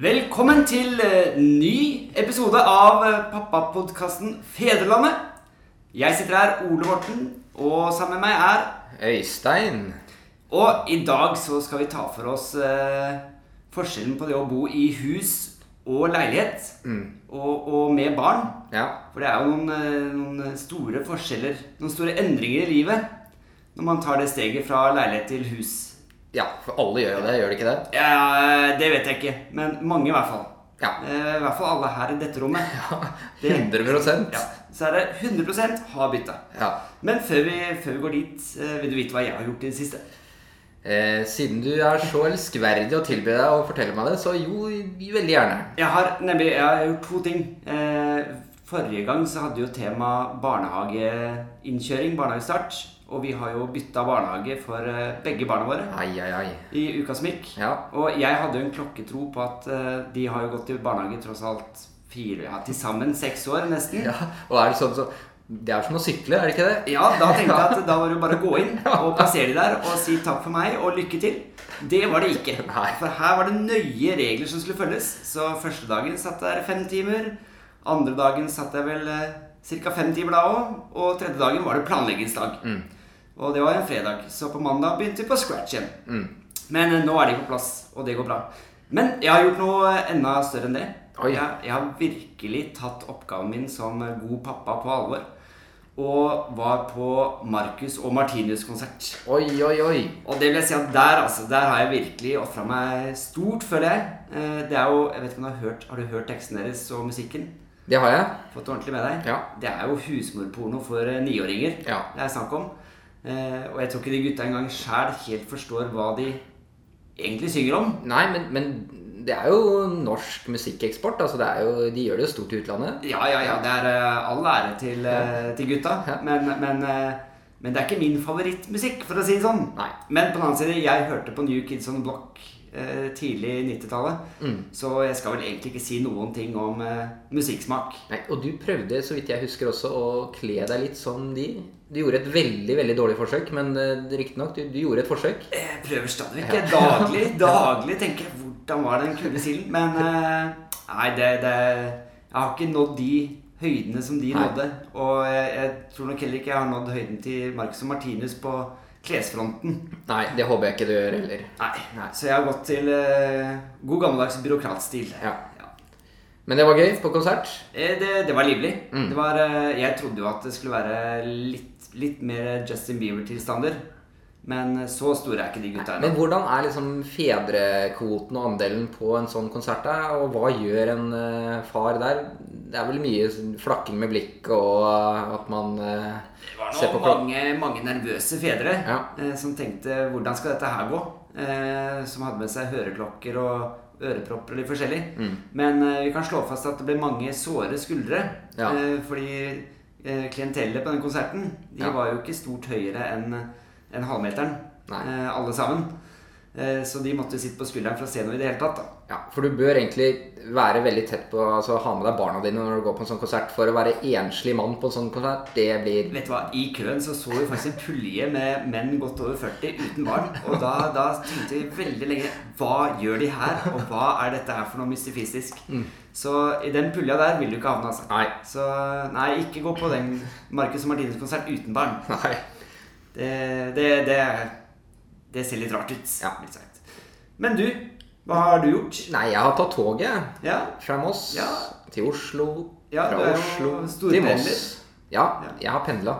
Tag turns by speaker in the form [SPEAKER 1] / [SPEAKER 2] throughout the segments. [SPEAKER 1] Velkommen til eh, ny episode av eh, pappapodkasten Fedrelandet. Jeg sitter her, Ole Morten, og sammen med meg er
[SPEAKER 2] Øystein.
[SPEAKER 1] Og i dag så skal vi ta for oss eh, forskjellen på det å bo i hus og leilighet, og, og med barn.
[SPEAKER 2] Ja.
[SPEAKER 1] For det er jo noen, eh, noen store forskjeller, noen store endringer i livet når man tar det steget fra leilighet til hus.
[SPEAKER 2] ja, for alle gjør jo det, gjør de ikke det?
[SPEAKER 1] Ja, det vet jeg ikke, men mange i hvert fall.
[SPEAKER 2] Ja.
[SPEAKER 1] Eh, I hvert fall alle her i dette rommet. Det-
[SPEAKER 2] 100
[SPEAKER 1] Ja, så er det 100 har bytta.
[SPEAKER 2] ja.
[SPEAKER 1] Men før vi, før vi går dit, eh, vil du vite hva jeg har gjort i det siste?
[SPEAKER 2] Eh, siden du er så elskverdig å tilby deg å fortelle meg det, så jo, veldig gjerne.
[SPEAKER 1] Jeg har nemlig jeg har gjort to ting. Eh, Forrige gang så hadde jo tema barnehageinnkjøring, barnehagestart. Og vi har jo bytta barnehage for eh, begge barna våre
[SPEAKER 2] Ai, ai, ai.
[SPEAKER 1] i uka som gikk.
[SPEAKER 2] Ja.
[SPEAKER 1] Og jeg hadde jo en klokketro på at eh, de har jo gått i barnehage tross alt fire, ja, til sammen seks år nesten.
[SPEAKER 2] ja. Og er det sånn så Det er som å sykle, er det ikke det?
[SPEAKER 1] Ja, da tenkte jeg at da var det jo bare å gå inn og plassere de der og si takk for meg og lykke til. Det var det ikke.
[SPEAKER 2] Nei.
[SPEAKER 1] For her var det nøye regler som skulle følges. Så første dagen satt jeg der fem timer. Andre dagen satt jeg vel ca. fem timer da òg. Og tredje dagen var det planleggingsdag. Og det var en fredag. Så på mandag begynte vi på scratch igjen.
[SPEAKER 2] Mm.
[SPEAKER 1] Men eh, nå er de på plass, og det går bra. Men jeg har gjort noe enda større enn det.
[SPEAKER 2] Oi.
[SPEAKER 1] Jeg, jeg har virkelig tatt oppgaven min som eh, god pappa på alvor. Og var på Marcus og Martinus-konsert.
[SPEAKER 2] Oi, oi, oi.
[SPEAKER 1] Og det vil jeg si at der, altså, der har jeg virkelig ofra meg stort, føler jeg. Eh, Det er jo, jeg vet ikke om du Har hørt Har du hørt tekstene deres og musikken?
[SPEAKER 2] Det har jeg.
[SPEAKER 1] Fått det ordentlig med deg?
[SPEAKER 2] Ja.
[SPEAKER 1] Det er jo husmorporno for eh, niåringer
[SPEAKER 2] Ja.
[SPEAKER 1] det er snakk om. Eh, Og jeg tror ikke de gutta engang sjæl helt forstår hva de egentlig synger om.
[SPEAKER 2] Nei, men, men det er jo norsk musikkeksport. Altså det er jo, de gjør det jo stort i utlandet.
[SPEAKER 1] Ja, ja, ja. Det er eh, all ære til, eh, til gutta.
[SPEAKER 2] Ja.
[SPEAKER 1] Men, men, eh, men det er ikke min favorittmusikk, for å si det sånn.
[SPEAKER 2] Nei.
[SPEAKER 1] Men på den annen side, jeg hørte på New Kids on the Block eh, tidlig i 90-tallet.
[SPEAKER 2] Mm.
[SPEAKER 1] Så jeg skal vel egentlig ikke si noen ting om eh, musikksmak.
[SPEAKER 2] Nei, Og du prøvde, så vidt jeg husker også, å kle deg litt som de. Du gjorde et veldig veldig dårlig forsøk, men eh, riktignok, du, du gjorde et forsøk.
[SPEAKER 1] Jeg prøver stadig vekk. Jeg Daglig, daglig tenker jeg hvordan var den kule stilen? Men eh, nei, det, det Jeg har ikke nådd de høydene som de
[SPEAKER 2] Nei.
[SPEAKER 1] nådde. Og jeg, jeg tror nok heller ikke jeg har nådd høyden til Marcus og Martinus på klesfronten.
[SPEAKER 2] Nei, det håper jeg ikke du gjør heller.
[SPEAKER 1] Nei. Så jeg har gått til eh, god gammeldags byråkratstil.
[SPEAKER 2] Ja. Men det var gøy på konsert.
[SPEAKER 1] Eh, Det, det var livlig.
[SPEAKER 2] Mm.
[SPEAKER 1] Det var, eh, jeg trodde jo at det skulle være litt, litt mer Justin Bieber-tilstander. Men så store er ikke de gutta
[SPEAKER 2] Men
[SPEAKER 1] ennå.
[SPEAKER 2] hvordan er liksom fedrekvoten og andelen på en sånn konsert? da? Og hva gjør en eh, far der? Det er vel mye sånn flakking med blikket og eh, at man eh,
[SPEAKER 1] Det var
[SPEAKER 2] ser
[SPEAKER 1] nå
[SPEAKER 2] på klokka.
[SPEAKER 1] mange, mange nervøse fedre
[SPEAKER 2] Ja.
[SPEAKER 1] eh, som tenkte 'hvordan skal dette her gå?' Eh, som hadde med seg høreklokker og ørepropper og litt forskjellig.
[SPEAKER 2] Mm.
[SPEAKER 1] Men eh, vi kan slå fast at det ble mange såre skuldre.
[SPEAKER 2] Ja.
[SPEAKER 1] Eh, fordi eh, klientellet på den konserten De
[SPEAKER 2] Ja.
[SPEAKER 1] var jo ikke stort høyere enn enn halvmeteren,
[SPEAKER 2] Nei.
[SPEAKER 1] eh, alle sammen. Eh, så de måtte sitte på skulderen for å se noe i det hele tatt. da
[SPEAKER 2] Ja, for du bør egentlig være veldig tett på altså ha med deg barna dine når du går på en sånn konsert. For å være enslig mann på en sånn konsert, det blir
[SPEAKER 1] Vet du hva, I køen så så vi faktisk en pulje med menn godt over 40 uten barn. Og da, da tenkte vi veldig lenge Hva gjør de her? Og hva er dette her for noe mystifistisk? Så i den pulja der vil du ikke havne, altså.
[SPEAKER 2] Nei.
[SPEAKER 1] Så nei, ikke gå på den Marcus og Martinus-konsert uten barn.
[SPEAKER 2] Nei.
[SPEAKER 1] Det, det, det, det ser litt rart ut.
[SPEAKER 2] Ja.
[SPEAKER 1] mildt sagt. Men du, hva har du gjort?
[SPEAKER 2] Nei, jeg har tatt toget.
[SPEAKER 1] Ja,
[SPEAKER 2] Fra Moss
[SPEAKER 1] Ja.
[SPEAKER 2] til Oslo.
[SPEAKER 1] Ja, du
[SPEAKER 2] fra
[SPEAKER 1] er jo
[SPEAKER 2] Oslo til
[SPEAKER 1] storpendler.
[SPEAKER 2] Moss. Ja, jeg har pendla.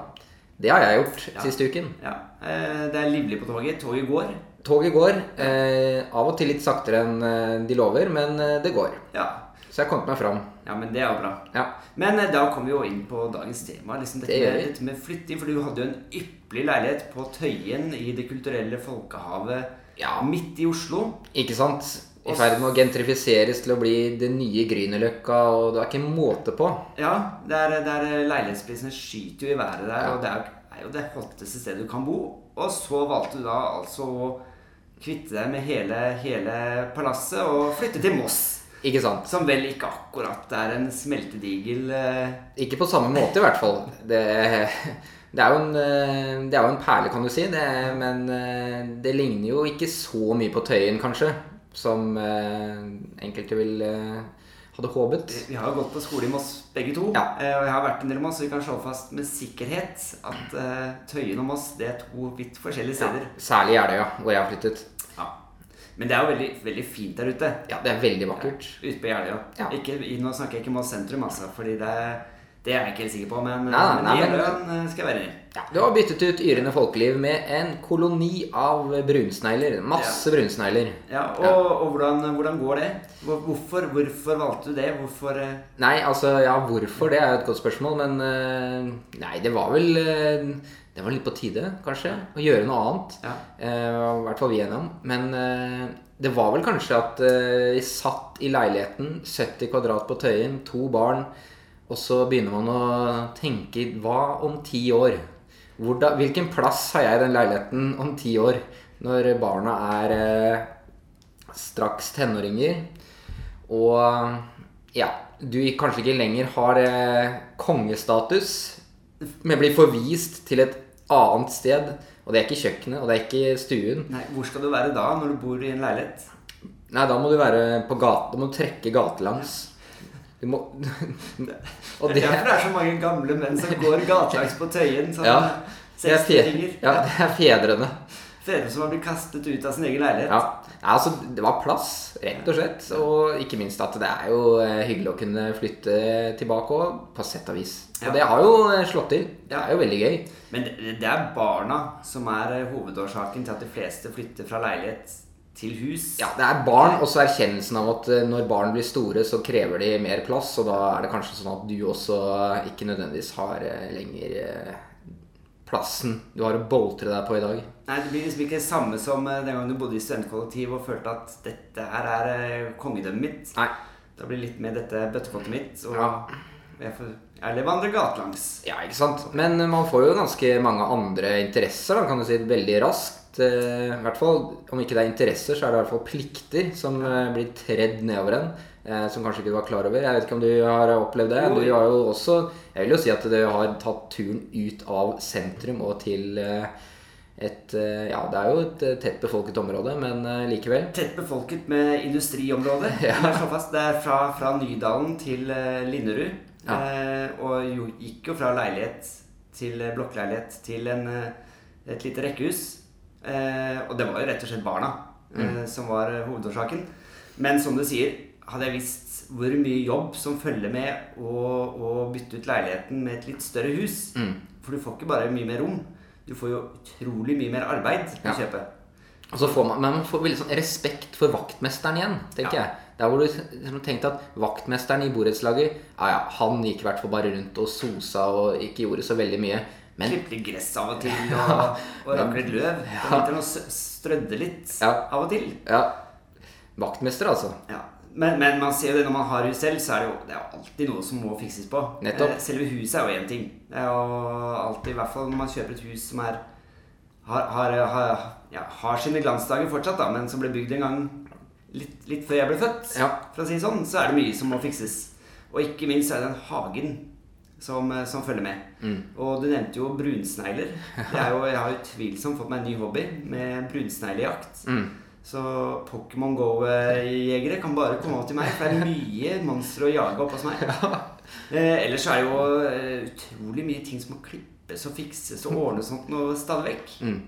[SPEAKER 2] Det har jeg gjort siste uken.
[SPEAKER 1] ja. Eh, Det er livlig på toget. Toget går.
[SPEAKER 2] Toget går. Eh, av og til litt saktere enn eh, de lover, men eh, det går.
[SPEAKER 1] Ja.
[SPEAKER 2] Så jeg har kommet meg fram.
[SPEAKER 1] ja, men det er jo bra.
[SPEAKER 2] Ja.
[SPEAKER 1] Men eh, da kom vi jo inn på dagens tema. Liksom dette,
[SPEAKER 2] Det gjør
[SPEAKER 1] med,
[SPEAKER 2] vi.
[SPEAKER 1] dette med flytting. For du hadde jo en ypperlig leilighet på Tøyen i Det kulturelle folkehavet
[SPEAKER 2] Ja.
[SPEAKER 1] midt i Oslo.
[SPEAKER 2] Ikke sant? I
[SPEAKER 1] Og-
[SPEAKER 2] ferd med å gentrifiseres til å bli det nye Grünerløkka, og det er ikke måte på.
[SPEAKER 1] Ja, der, der leilighetsprisene skyter jo i været der. Og det er, jo- er jo det hotteste stedet du kan bo. Og så valgte du da altså å kvitte deg med hele, hele palasset og flytte til Moss.
[SPEAKER 2] Ikke sant?
[SPEAKER 1] Som vel ikke akkurat er en smeltedigel eh,
[SPEAKER 2] Ikke på samme måte, i hvert fall. Det, det, er, jo en, eh, det er jo en perle, kan du si. Det, men eh, det ligner jo ikke så mye på Tøyen, kanskje. som eh, enkelte vil eh, hadde håpet.
[SPEAKER 1] Eh, Vi har jo gått på skole i Moss begge to,
[SPEAKER 2] Ja.
[SPEAKER 1] eh, og jeg har vært en del i Moss, så vi kan slå fast med sikkerhet at eh, Tøyen og Moss det er to vidt forskjellige steder.
[SPEAKER 2] Særlig i Jeløya, hvor jeg har flyttet.
[SPEAKER 1] Ja. Men det er jo veldig, veldig fint der ute.
[SPEAKER 2] Ja, det er veldig vakkert.
[SPEAKER 1] Ute på Jeløya.
[SPEAKER 2] Ja.
[SPEAKER 1] Ikke- i- Nå snakker jeg ikke Moss sentrum, altså, fordi det, det er jeg ikke helt sikker på, men,
[SPEAKER 2] Nei, nei,
[SPEAKER 1] men
[SPEAKER 2] nei, men-
[SPEAKER 1] Jeløya eh, skal jeg være i.
[SPEAKER 2] Ja, du har byttet ut yrende folkeliv med en koloni av brunsnegler. Masse brunsnegler.
[SPEAKER 1] Ja, og, og hvordan, hvordan går det? Hvor- Hvorfor, hvorfor valgte du det? Hvorfor eh,
[SPEAKER 2] Nei, altså, ja, hvorfor? Det er jo et godt spørsmål, men eh, Nei, det var vel eh, Det var litt på tide, kanskje, å gjøre noe annet.
[SPEAKER 1] Ja.
[SPEAKER 2] Eh, var I hvert fall vi enige om. Men eh, det var vel kanskje at eh, vi satt i leiligheten, 70 kvadrat på Tøyen, to barn, og så begynner man å tenke Hva om ti år? Hvordan, hvilken plass har jeg i den leiligheten om ti år, når barna er eh, straks tenåringer? Og ja, du kanskje ikke lenger har eh, kongestatus, men blir forvist til et annet sted. Og det er ikke kjøkkenet, og det er ikke stuen.
[SPEAKER 1] Nei, hvor skal du være da, når du bor i en leilighet?
[SPEAKER 2] Nei, da må du være på gata, da må du trekke gatelangs. Du må Og
[SPEAKER 1] det
[SPEAKER 2] det
[SPEAKER 1] er derfor det er så mange gamle menn som går gatelangs på Tøyen sånn som
[SPEAKER 2] Ja. det er, fe
[SPEAKER 1] 60-ringer.
[SPEAKER 2] ja, det er fedrene.
[SPEAKER 1] Fedre som har blitt kastet ut av sin egen leilighet.
[SPEAKER 2] Ja. Nei, altså, det var plass, rett og slett. Og ikke minst at det er jo eh, hyggelig å kunne flytte tilbake òg, på sett og vis.
[SPEAKER 1] Ja.
[SPEAKER 2] Og det har jo eh, slått til. Det er jo veldig gøy.
[SPEAKER 1] Men det, det er barna som er eh, hovedårsaken til at de fleste flytter fra leilighet til hus.
[SPEAKER 2] Ja, det er barn, og så erkjennelsen av at eh, når barn blir store, så krever de mer plass, og da er det kanskje sånn at du også ikke nødvendigvis har eh, lenger eh, plassen du har å boltre deg på i dag.
[SPEAKER 1] Nei, Det blir liksom ikke det samme som eh, den gangen du bodde i studentkollektiv og følte at 'dette her er eh, kongedømmet mitt'.
[SPEAKER 2] Nei.
[SPEAKER 1] Da blir det litt mer 'dette er bøttekottet mitt'. Og
[SPEAKER 2] Ja.
[SPEAKER 1] jeg, får, jeg lever andre gatelangs.
[SPEAKER 2] Ja, ikke sant? Men man får jo ganske mange andre interesser, da, kan du si, veldig raskt. Eh, I hvert fall, om ikke det er interesser, så er det i hvert fall plikter som eh, blir tredd nedover en. Eh, som kanskje ikke du var klar over. Jeg vet ikke om du har opplevd det. Du har jo også Jeg vil jo si at du har tatt turen ut av sentrum og til eh, et eh, Ja, det er jo et eh, tett befolket område, men eh, likevel.
[SPEAKER 1] Tett befolket med industriområder.
[SPEAKER 2] Ja.
[SPEAKER 1] Jeg slår fast, Det er fra, fra Nydalen til eh, Linderud. Eh, og jo, gikk jo fra leilighet til eh, blokkleilighet til en, eh, et lite rekkehus. Eh, og det var jo rett og slett barna
[SPEAKER 2] Mm.
[SPEAKER 1] eh, som var eh, hovedårsaken. Men som du sier, hadde jeg visst hvor mye jobb som følger med å, å bytte ut leiligheten med et litt større hus
[SPEAKER 2] Mm.
[SPEAKER 1] For du får ikke bare mye mer rom, du får jo utrolig mye mer arbeid
[SPEAKER 2] Ja.
[SPEAKER 1] å kjøpe.
[SPEAKER 2] Og så får man, men man får veldig sånn respekt for vaktmesteren igjen, tenker
[SPEAKER 1] Ja.
[SPEAKER 2] jeg. Der hvor du liksom tenkte at vaktmesteren i borettslaget ja, ja, Han gikk i hvert fall bare rundt og sosa og ikke gjorde så veldig mye. Men
[SPEAKER 1] Klippe litt gress av og til, og, og rakke litt løv. Ja. Og strødde litt
[SPEAKER 2] Ja.
[SPEAKER 1] av og til.
[SPEAKER 2] ja Vaktmester, altså.
[SPEAKER 1] Ja. Men, men man ser jo det når man har hus selv, så er det jo, det er jo alltid noe som må fikses på.
[SPEAKER 2] Nettopp.
[SPEAKER 1] Eh, Selve huset er jo én ting. Det er jo alltid, i hvert fall når man kjøper et hus som er har, har, har, ja, har sine glansdager fortsatt, da, men som ble bygd en gang litt, litt før jeg ble født,
[SPEAKER 2] Ja.
[SPEAKER 1] for å si det sånn, så er det mye som må fikses. Og ikke minst er det den hagen som, eh, som følger med. Og du nevnte jo brunsnegler. Det er jo, jeg har utvilsomt fått meg en ny hobby med brunsneglejakt.
[SPEAKER 2] mm,
[SPEAKER 1] Så Pokémon Go-jegere kan bare komme opp til meg, for det er mye monstre å jage opp hos meg. Eh, ellers er det jo eh, utrolig mye ting som må klippes og fikses og ordnes og sånt noe stadig vekk.
[SPEAKER 2] mm.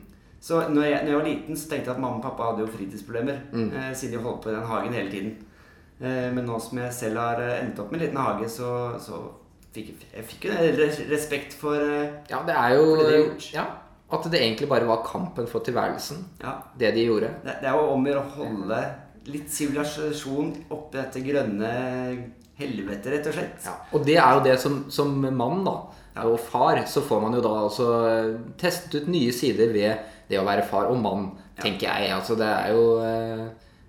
[SPEAKER 1] Så når jeg, når jeg var liten, så tenkte jeg at mamma og pappa hadde jo fritidsproblemer,
[SPEAKER 2] Mm.
[SPEAKER 1] eh, siden de holdt på i den hagen hele tiden. Eh, men nå som jeg selv har eh, endt opp med en liten hage, så, så fikk jeg, jeg fikk jo en res- respekt for eh,
[SPEAKER 2] Ja, det er jo
[SPEAKER 1] Fordi det er gjort.
[SPEAKER 2] ja, At det egentlig bare var kampen for tilværelsen,
[SPEAKER 1] Ja,
[SPEAKER 2] det de gjorde.
[SPEAKER 1] det, det er jo om å gjøre å holde litt sivilisasjon oppi dette grønne helvetet, rett og slett.
[SPEAKER 2] Ja. Og det er jo det som, som mann da, og far, så får man jo da altså eh, testet ut nye sider ved det å være far og mann, tenker jeg. Altså det er jo eh,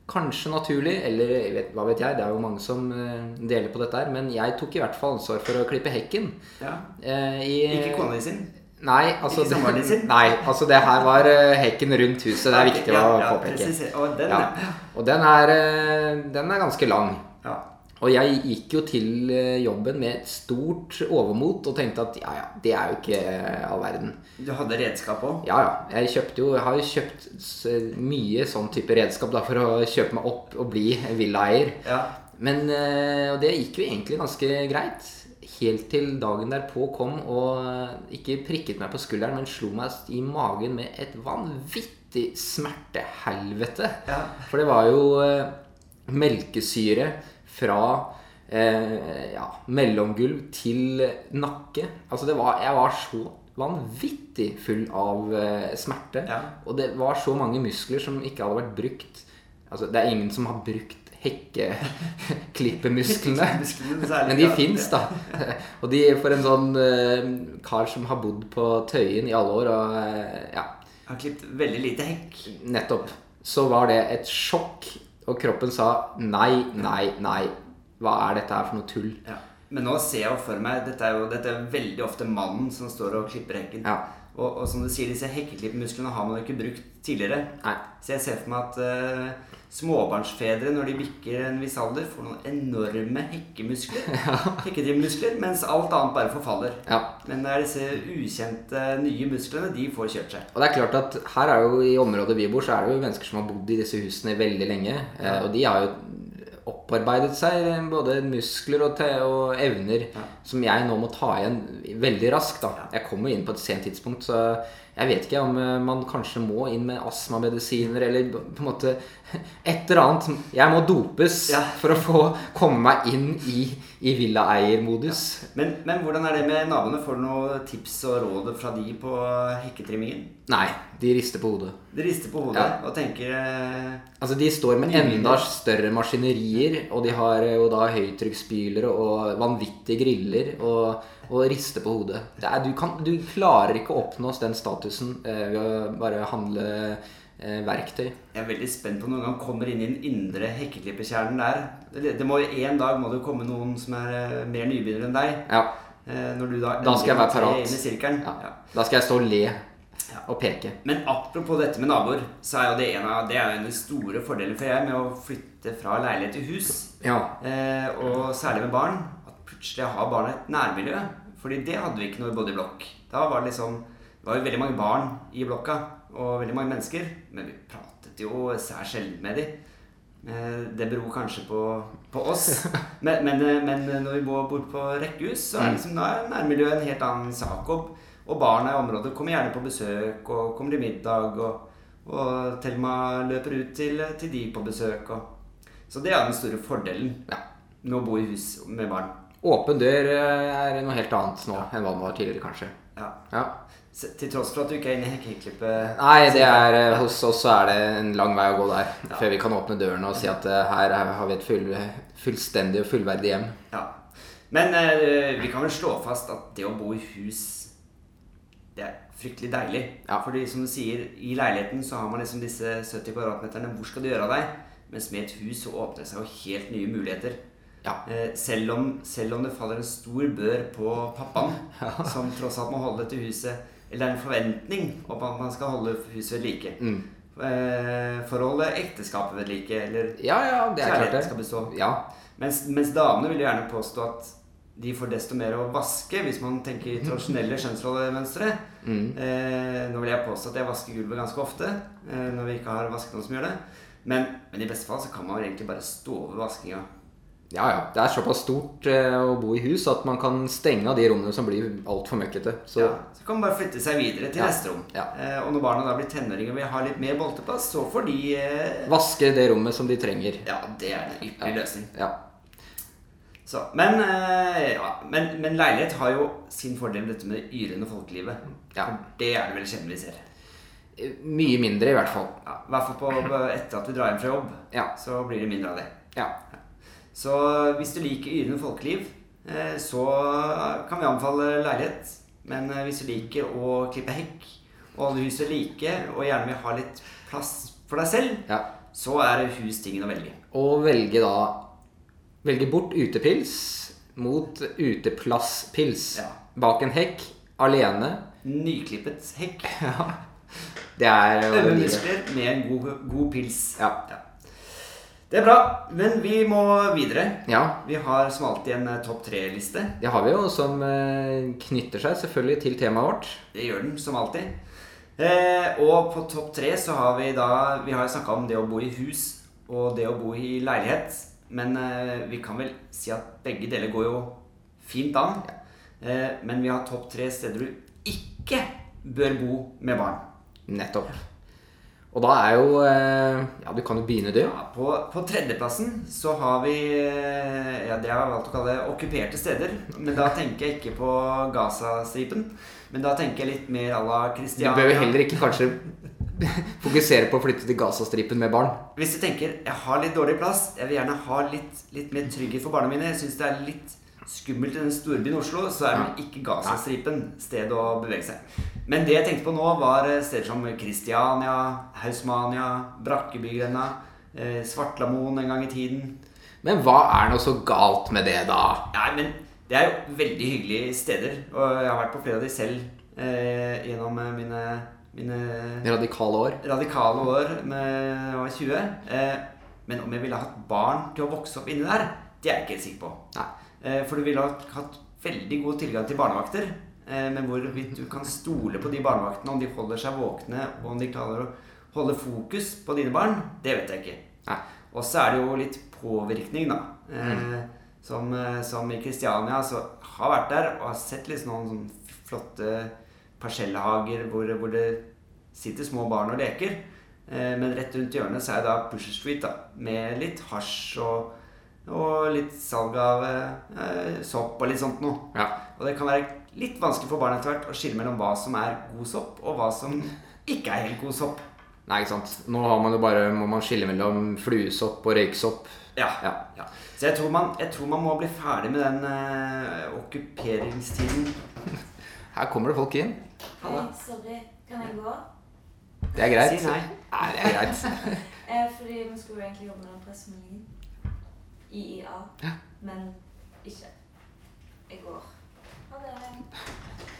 [SPEAKER 2] kanskje naturlig, eller jeg vet, hva vet jeg, det er jo mange som eh, deler på dette her, men jeg tok i hvert fall ansvar for å klippe hekken.
[SPEAKER 1] Ja.
[SPEAKER 2] eh, i,
[SPEAKER 1] Ikke kona di sin.
[SPEAKER 2] Nei, altså,
[SPEAKER 1] Ikke samboeren din sin?
[SPEAKER 2] nei, altså det her var eh, hekken rundt huset, det er viktig
[SPEAKER 1] ja,
[SPEAKER 2] å
[SPEAKER 1] ja,
[SPEAKER 2] påpeke.
[SPEAKER 1] presiser- Og den,
[SPEAKER 2] Ja.
[SPEAKER 1] ja.
[SPEAKER 2] Og den er, eh, den er ganske lang.
[SPEAKER 1] ja.
[SPEAKER 2] Og jeg gikk jo til eh, jobben med et stort overmot og tenkte at ja, ja, det er jo ikke eh, all verden.
[SPEAKER 1] Du hadde redskap òg?
[SPEAKER 2] Ja, ja. Jeg kjøpte jo, jeg har jo kjøpt s- mye sånn type redskap da, for å kjøpe meg opp og bli villaeier.
[SPEAKER 1] Ja.
[SPEAKER 2] Men eh, Og det gikk jo egentlig ganske greit. Helt til dagen derpå kom og eh, ikke prikket meg på skulderen, men slo meg i magen med et vanvittig smertehelvete.
[SPEAKER 1] Ja.
[SPEAKER 2] For det var jo eh, melkesyre fra eh, ja, mellomgulv til nakke. Altså det var, jeg var så vanvittig full av eh, smerte.
[SPEAKER 1] Ja.
[SPEAKER 2] Og det var så mange muskler som ikke hadde vært brukt. Altså, det er ingen som har brukt hekkeklippemusklene.
[SPEAKER 1] Musklene særlig.
[SPEAKER 2] Men de
[SPEAKER 1] Ja.
[SPEAKER 2] fins, da. Og de for en sånn eh, kar som har bodd på Tøyen i alle år og eh, ja,
[SPEAKER 1] Har klippet veldig lite hekk.
[SPEAKER 2] nettopp, så var det et sjokk. Og kroppen sa nei, nei, nei. Hva er dette her for noe tull?
[SPEAKER 1] Ja. Men nå ser jeg jo for meg Dette er jo dette er veldig ofte mannen som står og klipper hekken.
[SPEAKER 2] Ja.
[SPEAKER 1] Og, og som du sier, disse hekkeklippmusklene har man jo ikke brukt tidligere.
[SPEAKER 2] Nei.
[SPEAKER 1] Så jeg ser for meg at eh, småbarnsfedre, når de bikker en viss alder, får noen enorme hekkemuskler. Hekkedrivmuskler, mens alt annet bare forfaller.
[SPEAKER 2] Ja.
[SPEAKER 1] Men det er disse ukjente nye musklene, de får kjørt seg.
[SPEAKER 2] Og det er klart at her er jo i området vi bor, så er det jo mennesker som har bodd i disse husene veldig lenge. eh, Og de har jo opparbeidet seg eh, både muskler og, te og evner som jeg nå må ta igjen veldig raskt. da. Jeg kommer jo inn på et sent tidspunkt, så jeg vet ikke om eh, man kanskje må inn med astmamedisiner eller på en måte et eller annet. som- Jeg må dopes
[SPEAKER 1] Ja.
[SPEAKER 2] for å få komme meg inn i, i villaeiermodus.
[SPEAKER 1] Men, men hvordan er det med naboene? Får du noen tips og råd fra de på hekketrimmingen?
[SPEAKER 2] Nei, de rister på hodet.
[SPEAKER 1] De rister på hodet og tenker eh,
[SPEAKER 2] Altså De står med enda større maskinerier, og de har eh, jo da høytrykksspylere og vanvittige griller og, og rister på hodet. Det er, du, kan, du klarer ikke å oppnå den statusen eh, ved å bare handle eh, verktøy.
[SPEAKER 1] Jeg er veldig spent på om noen gang kommer inn i den indre hekkeklipperkjernen der. Det- Det må jo En dag må det komme noen som er eh, mer nybegynner enn deg.
[SPEAKER 2] Ja,
[SPEAKER 1] Eh, Når du da,
[SPEAKER 2] Da skal jeg være
[SPEAKER 1] endelig
[SPEAKER 2] parat.
[SPEAKER 1] inn i sirkelen.
[SPEAKER 2] ja.
[SPEAKER 1] Ja.
[SPEAKER 2] Da skal jeg stå og le og peke.
[SPEAKER 1] Men apropos dette med naboer, så er jo det en av, det er jo en av de store fordelene for jeg med å flytte fra leilighet til hus,
[SPEAKER 2] Ja.
[SPEAKER 1] eh, og særlig med barn, at plutselig har barna et nærmiljø. Fordi det hadde vi ikke når vi bodde i blokk. Da var det liksom Det var jo veldig mange barn i blokka, og veldig mange mennesker, men vi pratet jo sær sjelden med de. Eh, Det beror kanskje på, på oss, men, men, eh, men når vi bor bort på rekkehus, så er liksom, da er nærmiljøet en helt annen sak. Og, og barna i området kommer gjerne på besøk, og kommer til middag, og, og Thelma løper ut til, til de på besøk. Og. Så det er den store fordelen
[SPEAKER 2] ja.
[SPEAKER 1] med å bo i hus med barn.
[SPEAKER 2] Åpen dør eh, er noe helt annet nå enn hva det var tidligere, kanskje.
[SPEAKER 1] Ja.
[SPEAKER 2] Ja.
[SPEAKER 1] Se- Til tross for at du ikke er inne i hekkeklippet.
[SPEAKER 2] Nei, det er, eh, hos oss så er det en lang vei å gå der. Før vi kan åpne dørene og si at eh, her er- har vi et full, fullstendig og fullverdig hjem.
[SPEAKER 1] Ja. Men eh, vi kan vel slå fast at det å bo i hus, det er fryktelig deilig.
[SPEAKER 2] Ja.
[SPEAKER 1] Fordi som du sier, i leiligheten så har man liksom disse 70 kvadratmeterne. Hvor skal du gjøre av deg? Mens med et hus så åpner det seg jo helt nye muligheter.
[SPEAKER 2] Ja.
[SPEAKER 1] Eh, selv, om, selv om det faller en stor bør på pappaen, som tross alt må holde dette huset Eller det er en forventning om at man skal holde huset ved like.
[SPEAKER 2] Mm.
[SPEAKER 1] Eh, forholdet ekteskapet ved like, eller
[SPEAKER 2] Ja, ja, det er klart
[SPEAKER 1] kjærligheten
[SPEAKER 2] det.
[SPEAKER 1] skal bestå.
[SPEAKER 2] Ja,
[SPEAKER 1] Mens, mens damene vil jo gjerne påstå at de får desto mer å vaske, hvis man tenker i tradisjonelle kjønnsrollemønstre.
[SPEAKER 2] Mm.
[SPEAKER 1] Eh, nå vil jeg påstå at jeg vasker gulvet ganske ofte, eh, når vi ikke har vasket noen som gjør det. Men, men i beste fall så kan man vel egentlig bare stå over vaskinga.
[SPEAKER 2] ja, ja. Det er såpass stort eh, å bo i hus at man kan stenge av de rommene som blir altfor møkkete. Så
[SPEAKER 1] Ja, så kan man bare flytte seg videre til
[SPEAKER 2] Ja.
[SPEAKER 1] neste rom.
[SPEAKER 2] Ja.
[SPEAKER 1] Eh, og når barna da blir tenåringer og vil ha litt mer bolteplass, så får de eh,
[SPEAKER 2] vaske det rommet som de trenger.
[SPEAKER 1] Ja, det er en ypperlig løsning.
[SPEAKER 2] Ja.
[SPEAKER 1] Så, men, eh, ja, men, men leilighet har jo sin fordel med dette med det yrende folkelivet.
[SPEAKER 2] Ja.
[SPEAKER 1] For det er det vel sjelden vi ser.
[SPEAKER 2] Eh, Mye mindre, i hvert fall.
[SPEAKER 1] Ja, I hvert fall på, etter at du drar hjem fra jobb,
[SPEAKER 2] Ja.
[SPEAKER 1] så blir det mindre av det.
[SPEAKER 2] Ja.
[SPEAKER 1] Så hvis du liker yrende folkeliv, eh, så kan vi anbefale leilighet. Men eh, hvis du liker å klippe hekk, og holde huset like, og gjerne vil ha litt plass for deg selv,
[SPEAKER 2] ja.
[SPEAKER 1] så er hus tingen å velge.
[SPEAKER 2] Og velge da Velge bort utepils mot uteplasspils.
[SPEAKER 1] Ja.
[SPEAKER 2] Bak en hekk, alene.
[SPEAKER 1] Nyklippet hekk,
[SPEAKER 2] Ja. Det er jo
[SPEAKER 1] øve
[SPEAKER 2] livet.
[SPEAKER 1] muskler med en god, god pils.
[SPEAKER 2] Ja.
[SPEAKER 1] Ja. Det er bra, men vi må videre.
[SPEAKER 2] Ja,
[SPEAKER 1] Vi har som alltid en eh, topp tre-liste.
[SPEAKER 2] det har vi jo, som eh, knytter seg selvfølgelig til temaet vårt.
[SPEAKER 1] Det gjør den, som alltid. Eh, og på topp tre så har vi da Vi har snakka om det å bo i hus og det å bo i leilighet. Men eh, vi kan vel si at begge deler går jo fint an. Eh, men vi har topp tre steder du ikke bør bo med barn.
[SPEAKER 2] Nettopp. Og da er jo eh, Ja, du kan jo begynne, du.
[SPEAKER 1] Ja, på, på tredjeplassen så har vi eh, ja, det jeg har valgt å kalle okkuperte steder. Men da tenker jeg ikke på Gazastripen. Men da tenker jeg litt mer à la
[SPEAKER 2] Du
[SPEAKER 1] Kristiania.
[SPEAKER 2] bør jo heller ikke kanskje fokusere på å flytte til Gazastripen med barn.
[SPEAKER 1] Hvis du tenker jeg har litt dårlig plass, jeg vil gjerne ha litt, litt mer trygghet for barna mine, jeg syns det er litt skummelt i den storbyen Oslo, så er vel ikke Gazastripen stedet å bevege seg. Men det jeg tenkte på nå, var eh, steder som Kristiania, Hausmania, Brakkebygrenda, eh, Svartlamoen en gang i tiden.
[SPEAKER 2] Men hva er nå så galt med det, da?
[SPEAKER 1] Nei, men det er jo veldig hyggelige steder, og jeg har vært på flere av de selv eh, gjennom eh, mine, mine
[SPEAKER 2] Radikale år?
[SPEAKER 1] radikale år med jeg var 20. Eh, men om jeg ville hatt barn til å vokse opp inni der, det er jeg ikke helt sikker på.
[SPEAKER 2] Nei.
[SPEAKER 1] Eh, for du ville ha hatt veldig god tilgang til barnevakter. Eh, men hvorvidt du kan stole på de barnevaktene, om de holder seg våkne, og om de klarer å holde fokus på dine barn, det vet jeg ikke.
[SPEAKER 2] Nei.
[SPEAKER 1] Og så er det jo litt påvirkning, da. Eh, som, eh, som i Kristiania, så har vært der og har sett litt noen sånne flotte parsellhager hvor, hvor det sitter små barn og leker. Eh, men rett rundt hjørnet så er det da Pusher Street, da. Med litt hasj og, og litt salg av eh, sopp og litt sånt noe.
[SPEAKER 2] Ja.
[SPEAKER 1] Og det kan være litt vanskelig for barn etter hvert å skille mellom hva som er god sopp, og hva som ikke er helt god sopp.
[SPEAKER 2] Nei, ikke sant. Nå har man jo bare, må man skille mellom fluesopp og røyksopp.
[SPEAKER 1] Ja.
[SPEAKER 2] Ja.
[SPEAKER 1] ja. Så jeg tror, man, jeg tror man må bli ferdig med den eh, okkuperingstiden.
[SPEAKER 2] Her kommer det folk inn.
[SPEAKER 1] Halla.
[SPEAKER 3] Hei, sorry. Kan jeg gå?
[SPEAKER 2] Det er greit.
[SPEAKER 1] Si nei.
[SPEAKER 2] Nei, det er greit.
[SPEAKER 3] Eh, fordi vi skulle jo egentlig jobbe med den pressemeldingen. IIA. Men ikke. Jeg går. Ha det.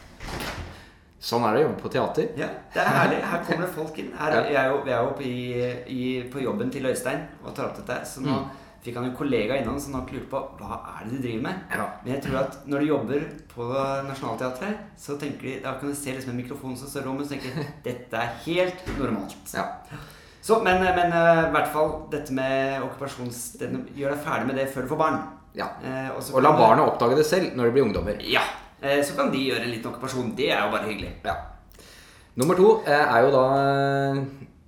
[SPEAKER 2] Sånn er det å jobbe på teater.
[SPEAKER 1] Ja, det er herlig. Her kommer det folk inn. Her, jeg er jo, vi er jo oppe i, i, på jobben til Øystein og tar opp dette. her, Så nå fikk han en kollega innom som nok lurer på hva er det de driver med.
[SPEAKER 2] Ja.
[SPEAKER 1] Men jeg tror at når du jobber på Nationaltheatret, så tenker de, da kan du se liksom en mikrofon som står i rommet, så tenker de dette er helt normalt.
[SPEAKER 2] Ja.
[SPEAKER 1] Så, men men, eh, i hvert fall dette med okkupasjonsstedene Gjør deg ferdig med det før du får barn.
[SPEAKER 2] ja.
[SPEAKER 1] Eh, og så
[SPEAKER 2] Og la
[SPEAKER 1] kan du-
[SPEAKER 2] barna oppdage det selv når de blir ungdommer.
[SPEAKER 1] Ja. Eh, så kan de gjøre en liten okkupasjon. Det er jo bare hyggelig.
[SPEAKER 2] Ja. Nummer to eh, er jo da eh,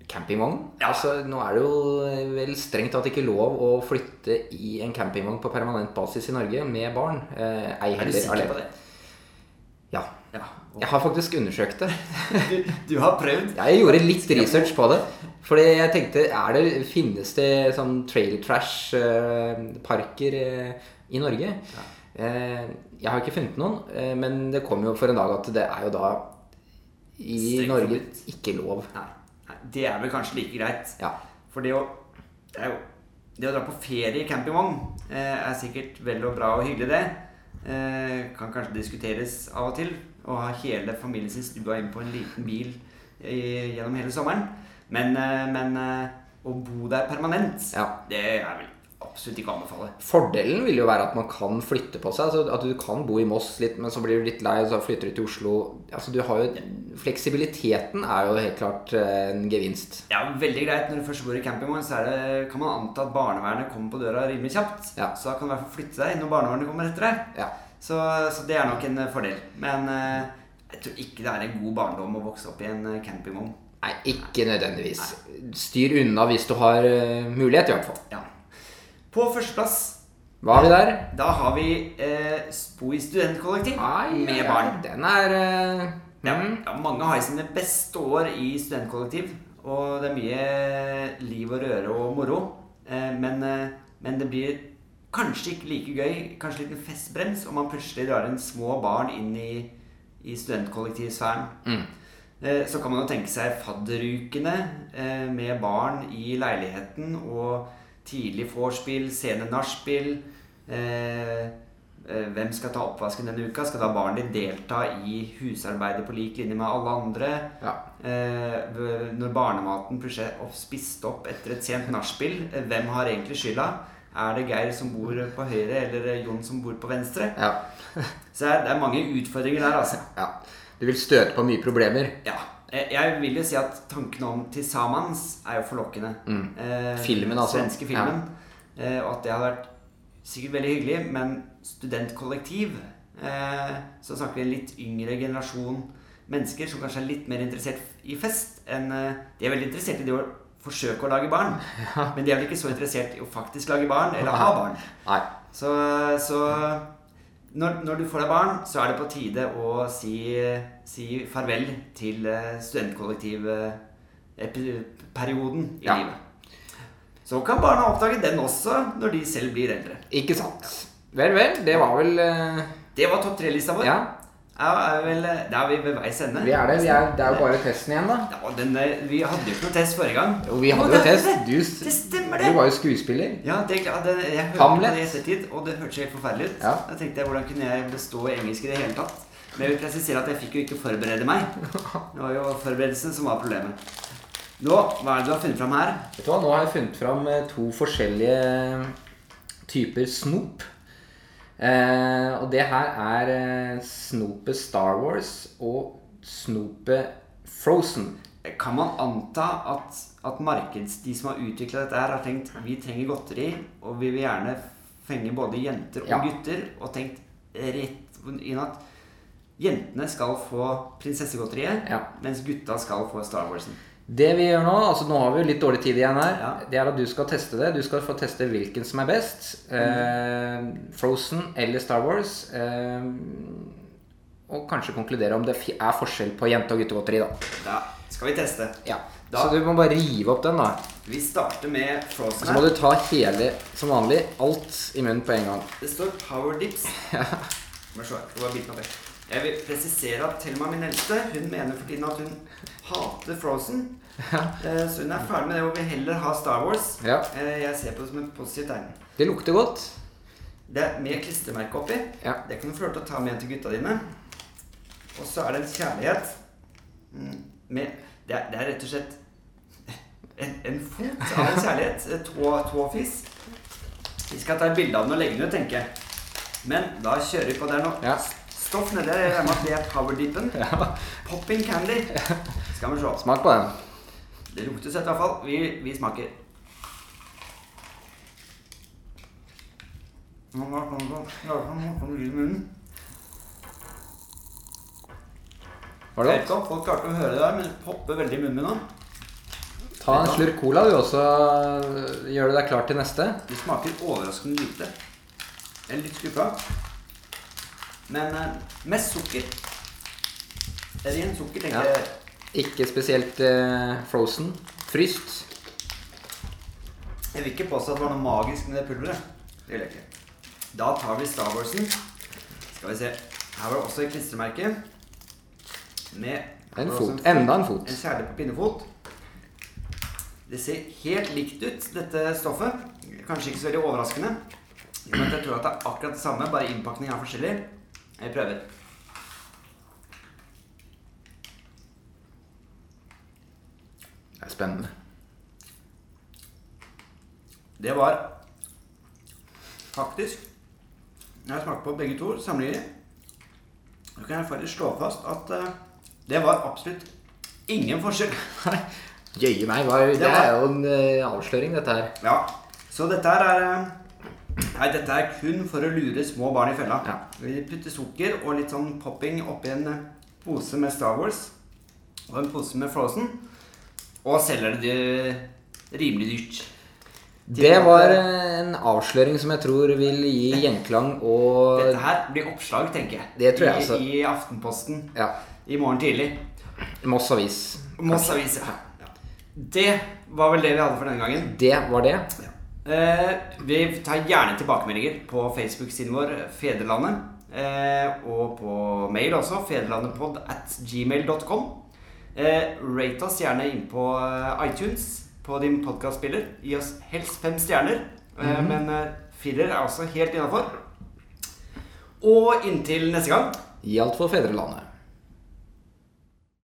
[SPEAKER 2] campingvogn.
[SPEAKER 1] Ja.
[SPEAKER 2] Altså, nå er det jo eh, vel strengt tatt ikke lov å flytte i en campingvogn på permanent basis i Norge med barn. Eh, ei
[SPEAKER 1] Er du
[SPEAKER 2] heller
[SPEAKER 1] sikker på
[SPEAKER 2] alene.
[SPEAKER 1] det?
[SPEAKER 2] Ja.
[SPEAKER 1] Ja.
[SPEAKER 2] Jeg har faktisk undersøkt det.
[SPEAKER 1] Du, du har prøvd?
[SPEAKER 2] Jeg gjorde litt research på det. Fordi jeg tenkte er det, Finnes det sånn trail trash-parker i Norge? Eh, Jeg har ikke funnet noen, eh, men det kom jo for en dag at det er jo da i
[SPEAKER 1] Strengt
[SPEAKER 2] Norge
[SPEAKER 1] forbudt.
[SPEAKER 2] ikke lov.
[SPEAKER 1] Nei. Nei. Det er vel kanskje like greit.
[SPEAKER 2] Ja.
[SPEAKER 1] For det å, det er jo, det å dra på ferie i campingvogn eh, er sikkert vel og bra og hyggelig, det. Eh, kan kanskje diskuteres av og til. Å ha hele familien sin stua inn på en liten bil i, gjennom hele sommeren. Men, eh, men eh, å bo der permanent,
[SPEAKER 2] Ja.
[SPEAKER 1] det er vel absolutt ikke å anbefale.
[SPEAKER 2] Fordelen vil jo være at man kan flytte på seg. Altså at du kan bo i Moss litt, men så blir du litt lei, og så flytter du til Oslo. Altså du har jo, fleksibiliteten er jo helt klart eh, en gevinst.
[SPEAKER 1] Ja, veldig greit. Når du først bor i campingvogn, så er det, kan man anta at barnevernet kommer på døra rimelig kjapt.
[SPEAKER 2] Ja.
[SPEAKER 1] Så da kan du i hvert fall flytte deg når barnevernet kommer etter deg.
[SPEAKER 2] Ja.
[SPEAKER 1] Så, så det er nok en eh, fordel. Men eh, jeg tror ikke det er en god barndom å vokse opp i en eh, campingvogn.
[SPEAKER 2] Nei, ikke nødvendigvis. Styr unna hvis du har eh, mulighet, i hvert fall.
[SPEAKER 1] Ja. På førsteplass,
[SPEAKER 2] Hva har vi der?
[SPEAKER 1] da har vi eh, Spo i studentkollektiv
[SPEAKER 2] Ai,
[SPEAKER 1] med
[SPEAKER 2] ai, ai,
[SPEAKER 1] barn.
[SPEAKER 2] Den er eh,
[SPEAKER 1] Ja,
[SPEAKER 2] mm,
[SPEAKER 1] ja, mange har sine beste år i studentkollektiv, og det er mye liv og røre og moro. Eh, Men, eh, men det blir kanskje ikke like gøy, kanskje litt en festbrems, om man plutselig drar inn små barn inn i, i studentkollektivsfæren.
[SPEAKER 2] mm.
[SPEAKER 1] Eh, Så kan man jo tenke seg fadderukene eh, med barn i leiligheten og tidlig vorspiel, sene nachspiel, eh, eh, hvem skal ta oppvasken denne uka? Skal da barnet ditt delta i husarbeidet på lik linje med alle andre?
[SPEAKER 2] Ja.
[SPEAKER 1] Eh, v- når barnematen plutselig er opp- spist opp etter et sent nachspiel, eh, hvem har egentlig skylda? Er det Geir som bor på høyre, eller eh, Jon som bor på venstre?
[SPEAKER 2] Ja.
[SPEAKER 1] Så det er- det er mange utfordringer der, altså.
[SPEAKER 2] ja. Du vil støte på mye problemer.
[SPEAKER 1] Ja. Jeg- Jeg vil jo si at tanken om 'Tilsamans' er jo forlokkende.
[SPEAKER 2] Mm.
[SPEAKER 1] Eh,
[SPEAKER 2] Filmen, altså.
[SPEAKER 1] Svenske filmen. Eh, og at det hadde vært sikkert veldig hyggelig, men studentkollektiv eh, Så snakker vi en litt yngre generasjon mennesker som kanskje er litt mer interessert i fest enn eh, De er veldig interessert i det å forsøke å lage barn, men de er vel ikke så interessert i å faktisk lage barn eller ha barn.
[SPEAKER 2] Nei.
[SPEAKER 1] Så, så når, når du får deg barn, så er det på tide å si, si farvel til eh, studentkollektivperioden i
[SPEAKER 2] Ja.
[SPEAKER 1] livet. Så kan barna oppdage den også når de selv blir eldre.
[SPEAKER 2] Ikke sant. Vel, vel. Det var vel eh,
[SPEAKER 1] Det var topp tre-lista vår.
[SPEAKER 2] Ja,
[SPEAKER 1] Ja, er vel, da er vi ved veis ende.
[SPEAKER 2] vi er det. Vi er, det er jo bare testen igjen, da.
[SPEAKER 1] Ja, den, eh, vi hadde jo ikke noe test forrige gang.
[SPEAKER 2] Jo, vi
[SPEAKER 1] Å,
[SPEAKER 2] hadde jo
[SPEAKER 1] det er
[SPEAKER 2] test.
[SPEAKER 1] det.
[SPEAKER 2] Du, s-
[SPEAKER 1] Det stemmer det.
[SPEAKER 2] du var jo skuespiller.
[SPEAKER 1] Ja, det, ja, det, jeg hørte på
[SPEAKER 2] Hamlet.
[SPEAKER 1] det i ettertid, og det hørtes helt forferdelig ut.
[SPEAKER 2] Ja.
[SPEAKER 1] Da tenkte jeg, Hvordan kunne jeg bestå i engelsk i det hele tatt? Men jeg vil presisere at jeg fikk jo ikke forberede meg. Det var jo forberedelsen som var problemet. Nå, hva er det du har funnet fram her?
[SPEAKER 2] Vet du hva, Nå har jeg funnet fram eh, to forskjellige typer snop. Eh, og det her er eh, snopet Star Wars og snopet Frozen.
[SPEAKER 1] Kan man anta at, at markeds, de som har utvikla dette, her har tenkt vi trenger godteri, og vi vil gjerne fenge både jenter og
[SPEAKER 2] Ja.
[SPEAKER 1] gutter, og tenkt rett inn at jentene skal få prinsessegodteriet,
[SPEAKER 2] Ja.
[SPEAKER 1] mens gutta skal få Star Warsen.
[SPEAKER 2] Det vi gjør nå, altså nå har vi jo litt dårlig tid igjen her,
[SPEAKER 1] Ja.
[SPEAKER 2] det er at du skal teste det. Du skal få teste hvilken som er best. Eh, Frozen eller Star Wars. Eh, og kanskje konkludere om det fi- er forskjell på jente- og guttegodteri, da.
[SPEAKER 1] Da skal vi teste.
[SPEAKER 2] Ja.
[SPEAKER 1] Da-
[SPEAKER 2] Så du må bare rive opp den, da.
[SPEAKER 1] Vi starter med
[SPEAKER 2] Så
[SPEAKER 1] Frozen.
[SPEAKER 2] Altså, må
[SPEAKER 1] her.
[SPEAKER 2] du ta hele, som vanlig, alt i munnen på en gang.
[SPEAKER 1] Det står Power Dips. Må se, jeg skal bare bite meg vekk. Jeg vil presisere at Thelma, min eldste, hun mener for tiden at hun hater Frozen. Eh, Så hun er ferdig med det og vil heller ha Star Wars.
[SPEAKER 2] Ja.
[SPEAKER 1] Eh, Jeg ser på det som et positivt tegn.
[SPEAKER 2] Det lukter godt.
[SPEAKER 1] Det er med klistremerke oppi.
[SPEAKER 2] Ja.
[SPEAKER 1] Det kan du få lov til å ta med til gutta dine. Og så er det en kjærlighet mm, med Det er, det er rett og slett en, en fot av en kjærlighet. Eh, Tå, tåfis. Vi skal ta et bilde av den og legge den ut, tenker jeg. Men da kjører vi på. Det er noe
[SPEAKER 2] Ja.
[SPEAKER 1] stoff nedi her. Jeg regner med at det er powerdipen. Popping candy. Skal vi se.
[SPEAKER 2] Smak på den.
[SPEAKER 1] Det lukter søtt i hvert fall. Vi, vi smaker. Nå var det sånn som- det var sånn som lyd i munnen.
[SPEAKER 2] Var
[SPEAKER 1] Jeg
[SPEAKER 2] det
[SPEAKER 1] vet ikke
[SPEAKER 2] godt?
[SPEAKER 1] om folk klarte å høre det der, men det popper veldig i munnen min nå.
[SPEAKER 2] Ta en slurk cola, du, og så gjør du deg klar til neste.
[SPEAKER 1] Det smaker overraskende lite. Jeg er litt skuffa. Men eh, mest sukker. Ren sukker, tenker
[SPEAKER 2] Ja.
[SPEAKER 1] jeg.
[SPEAKER 2] Ikke spesielt eh, frozen. Fryst.
[SPEAKER 1] Jeg vil ikke påstå at det var noe magisk med det pulveret. Det vil jeg ikke. Da tar vi Star Warsen. Skal vi se. Her var det også et klistremerke. Med her var
[SPEAKER 2] En
[SPEAKER 1] det også
[SPEAKER 2] fot. Enda en fot.
[SPEAKER 1] En kjærlighet på pinnefot. Det ser helt likt ut, dette stoffet. Kanskje ikke så veldig overraskende. Men jeg tror at det er akkurat det samme, bare innpakningen er forskjellig. Jeg prøver.
[SPEAKER 2] Det er spennende.
[SPEAKER 1] Det var faktisk Når jeg smakte på begge to sammenligninger, så kan jeg faktisk slå fast at eh, det var absolutt ingen forskjell.
[SPEAKER 2] Jøye meg, hva, det
[SPEAKER 1] var-
[SPEAKER 2] er jo en eh, avsløring, dette her.
[SPEAKER 1] Ja, Så dette her er eh, Nei, dette er kun for å lure små barn i fella.
[SPEAKER 2] Ja.
[SPEAKER 1] Vi putter sukker og litt sånn popping oppi en eh, pose med Star Wars og en pose med Frozen, og selger det eh, rimelig dyrt.
[SPEAKER 2] Det var eh, en avsløring som jeg tror vil gi gjenklang og
[SPEAKER 1] Dette her blir oppslag, tenker jeg.
[SPEAKER 2] Det tror jeg
[SPEAKER 1] I,
[SPEAKER 2] også.
[SPEAKER 1] I Aftenposten
[SPEAKER 2] Ja.
[SPEAKER 1] i morgen tidlig.
[SPEAKER 2] Moss Avis.
[SPEAKER 1] Moss Avis. ja. Ja. Det var vel det vi hadde for denne gangen.
[SPEAKER 2] Det var det.
[SPEAKER 1] Eh, vi tar gjerne tilbakemeldinger på Facebook-siden vår Fedrelandet. Eh, og på mail også. Fedrelandetpod at gmail.com. Eh, rate oss gjerne inn på eh, iTunes på din podkastspiller. Gi
[SPEAKER 2] Mhm.
[SPEAKER 1] oss helst fem stjerner. Eh, Men eh, firer er også helt innafor.
[SPEAKER 4] Og inntil neste gang
[SPEAKER 1] I alt for fedrelandet.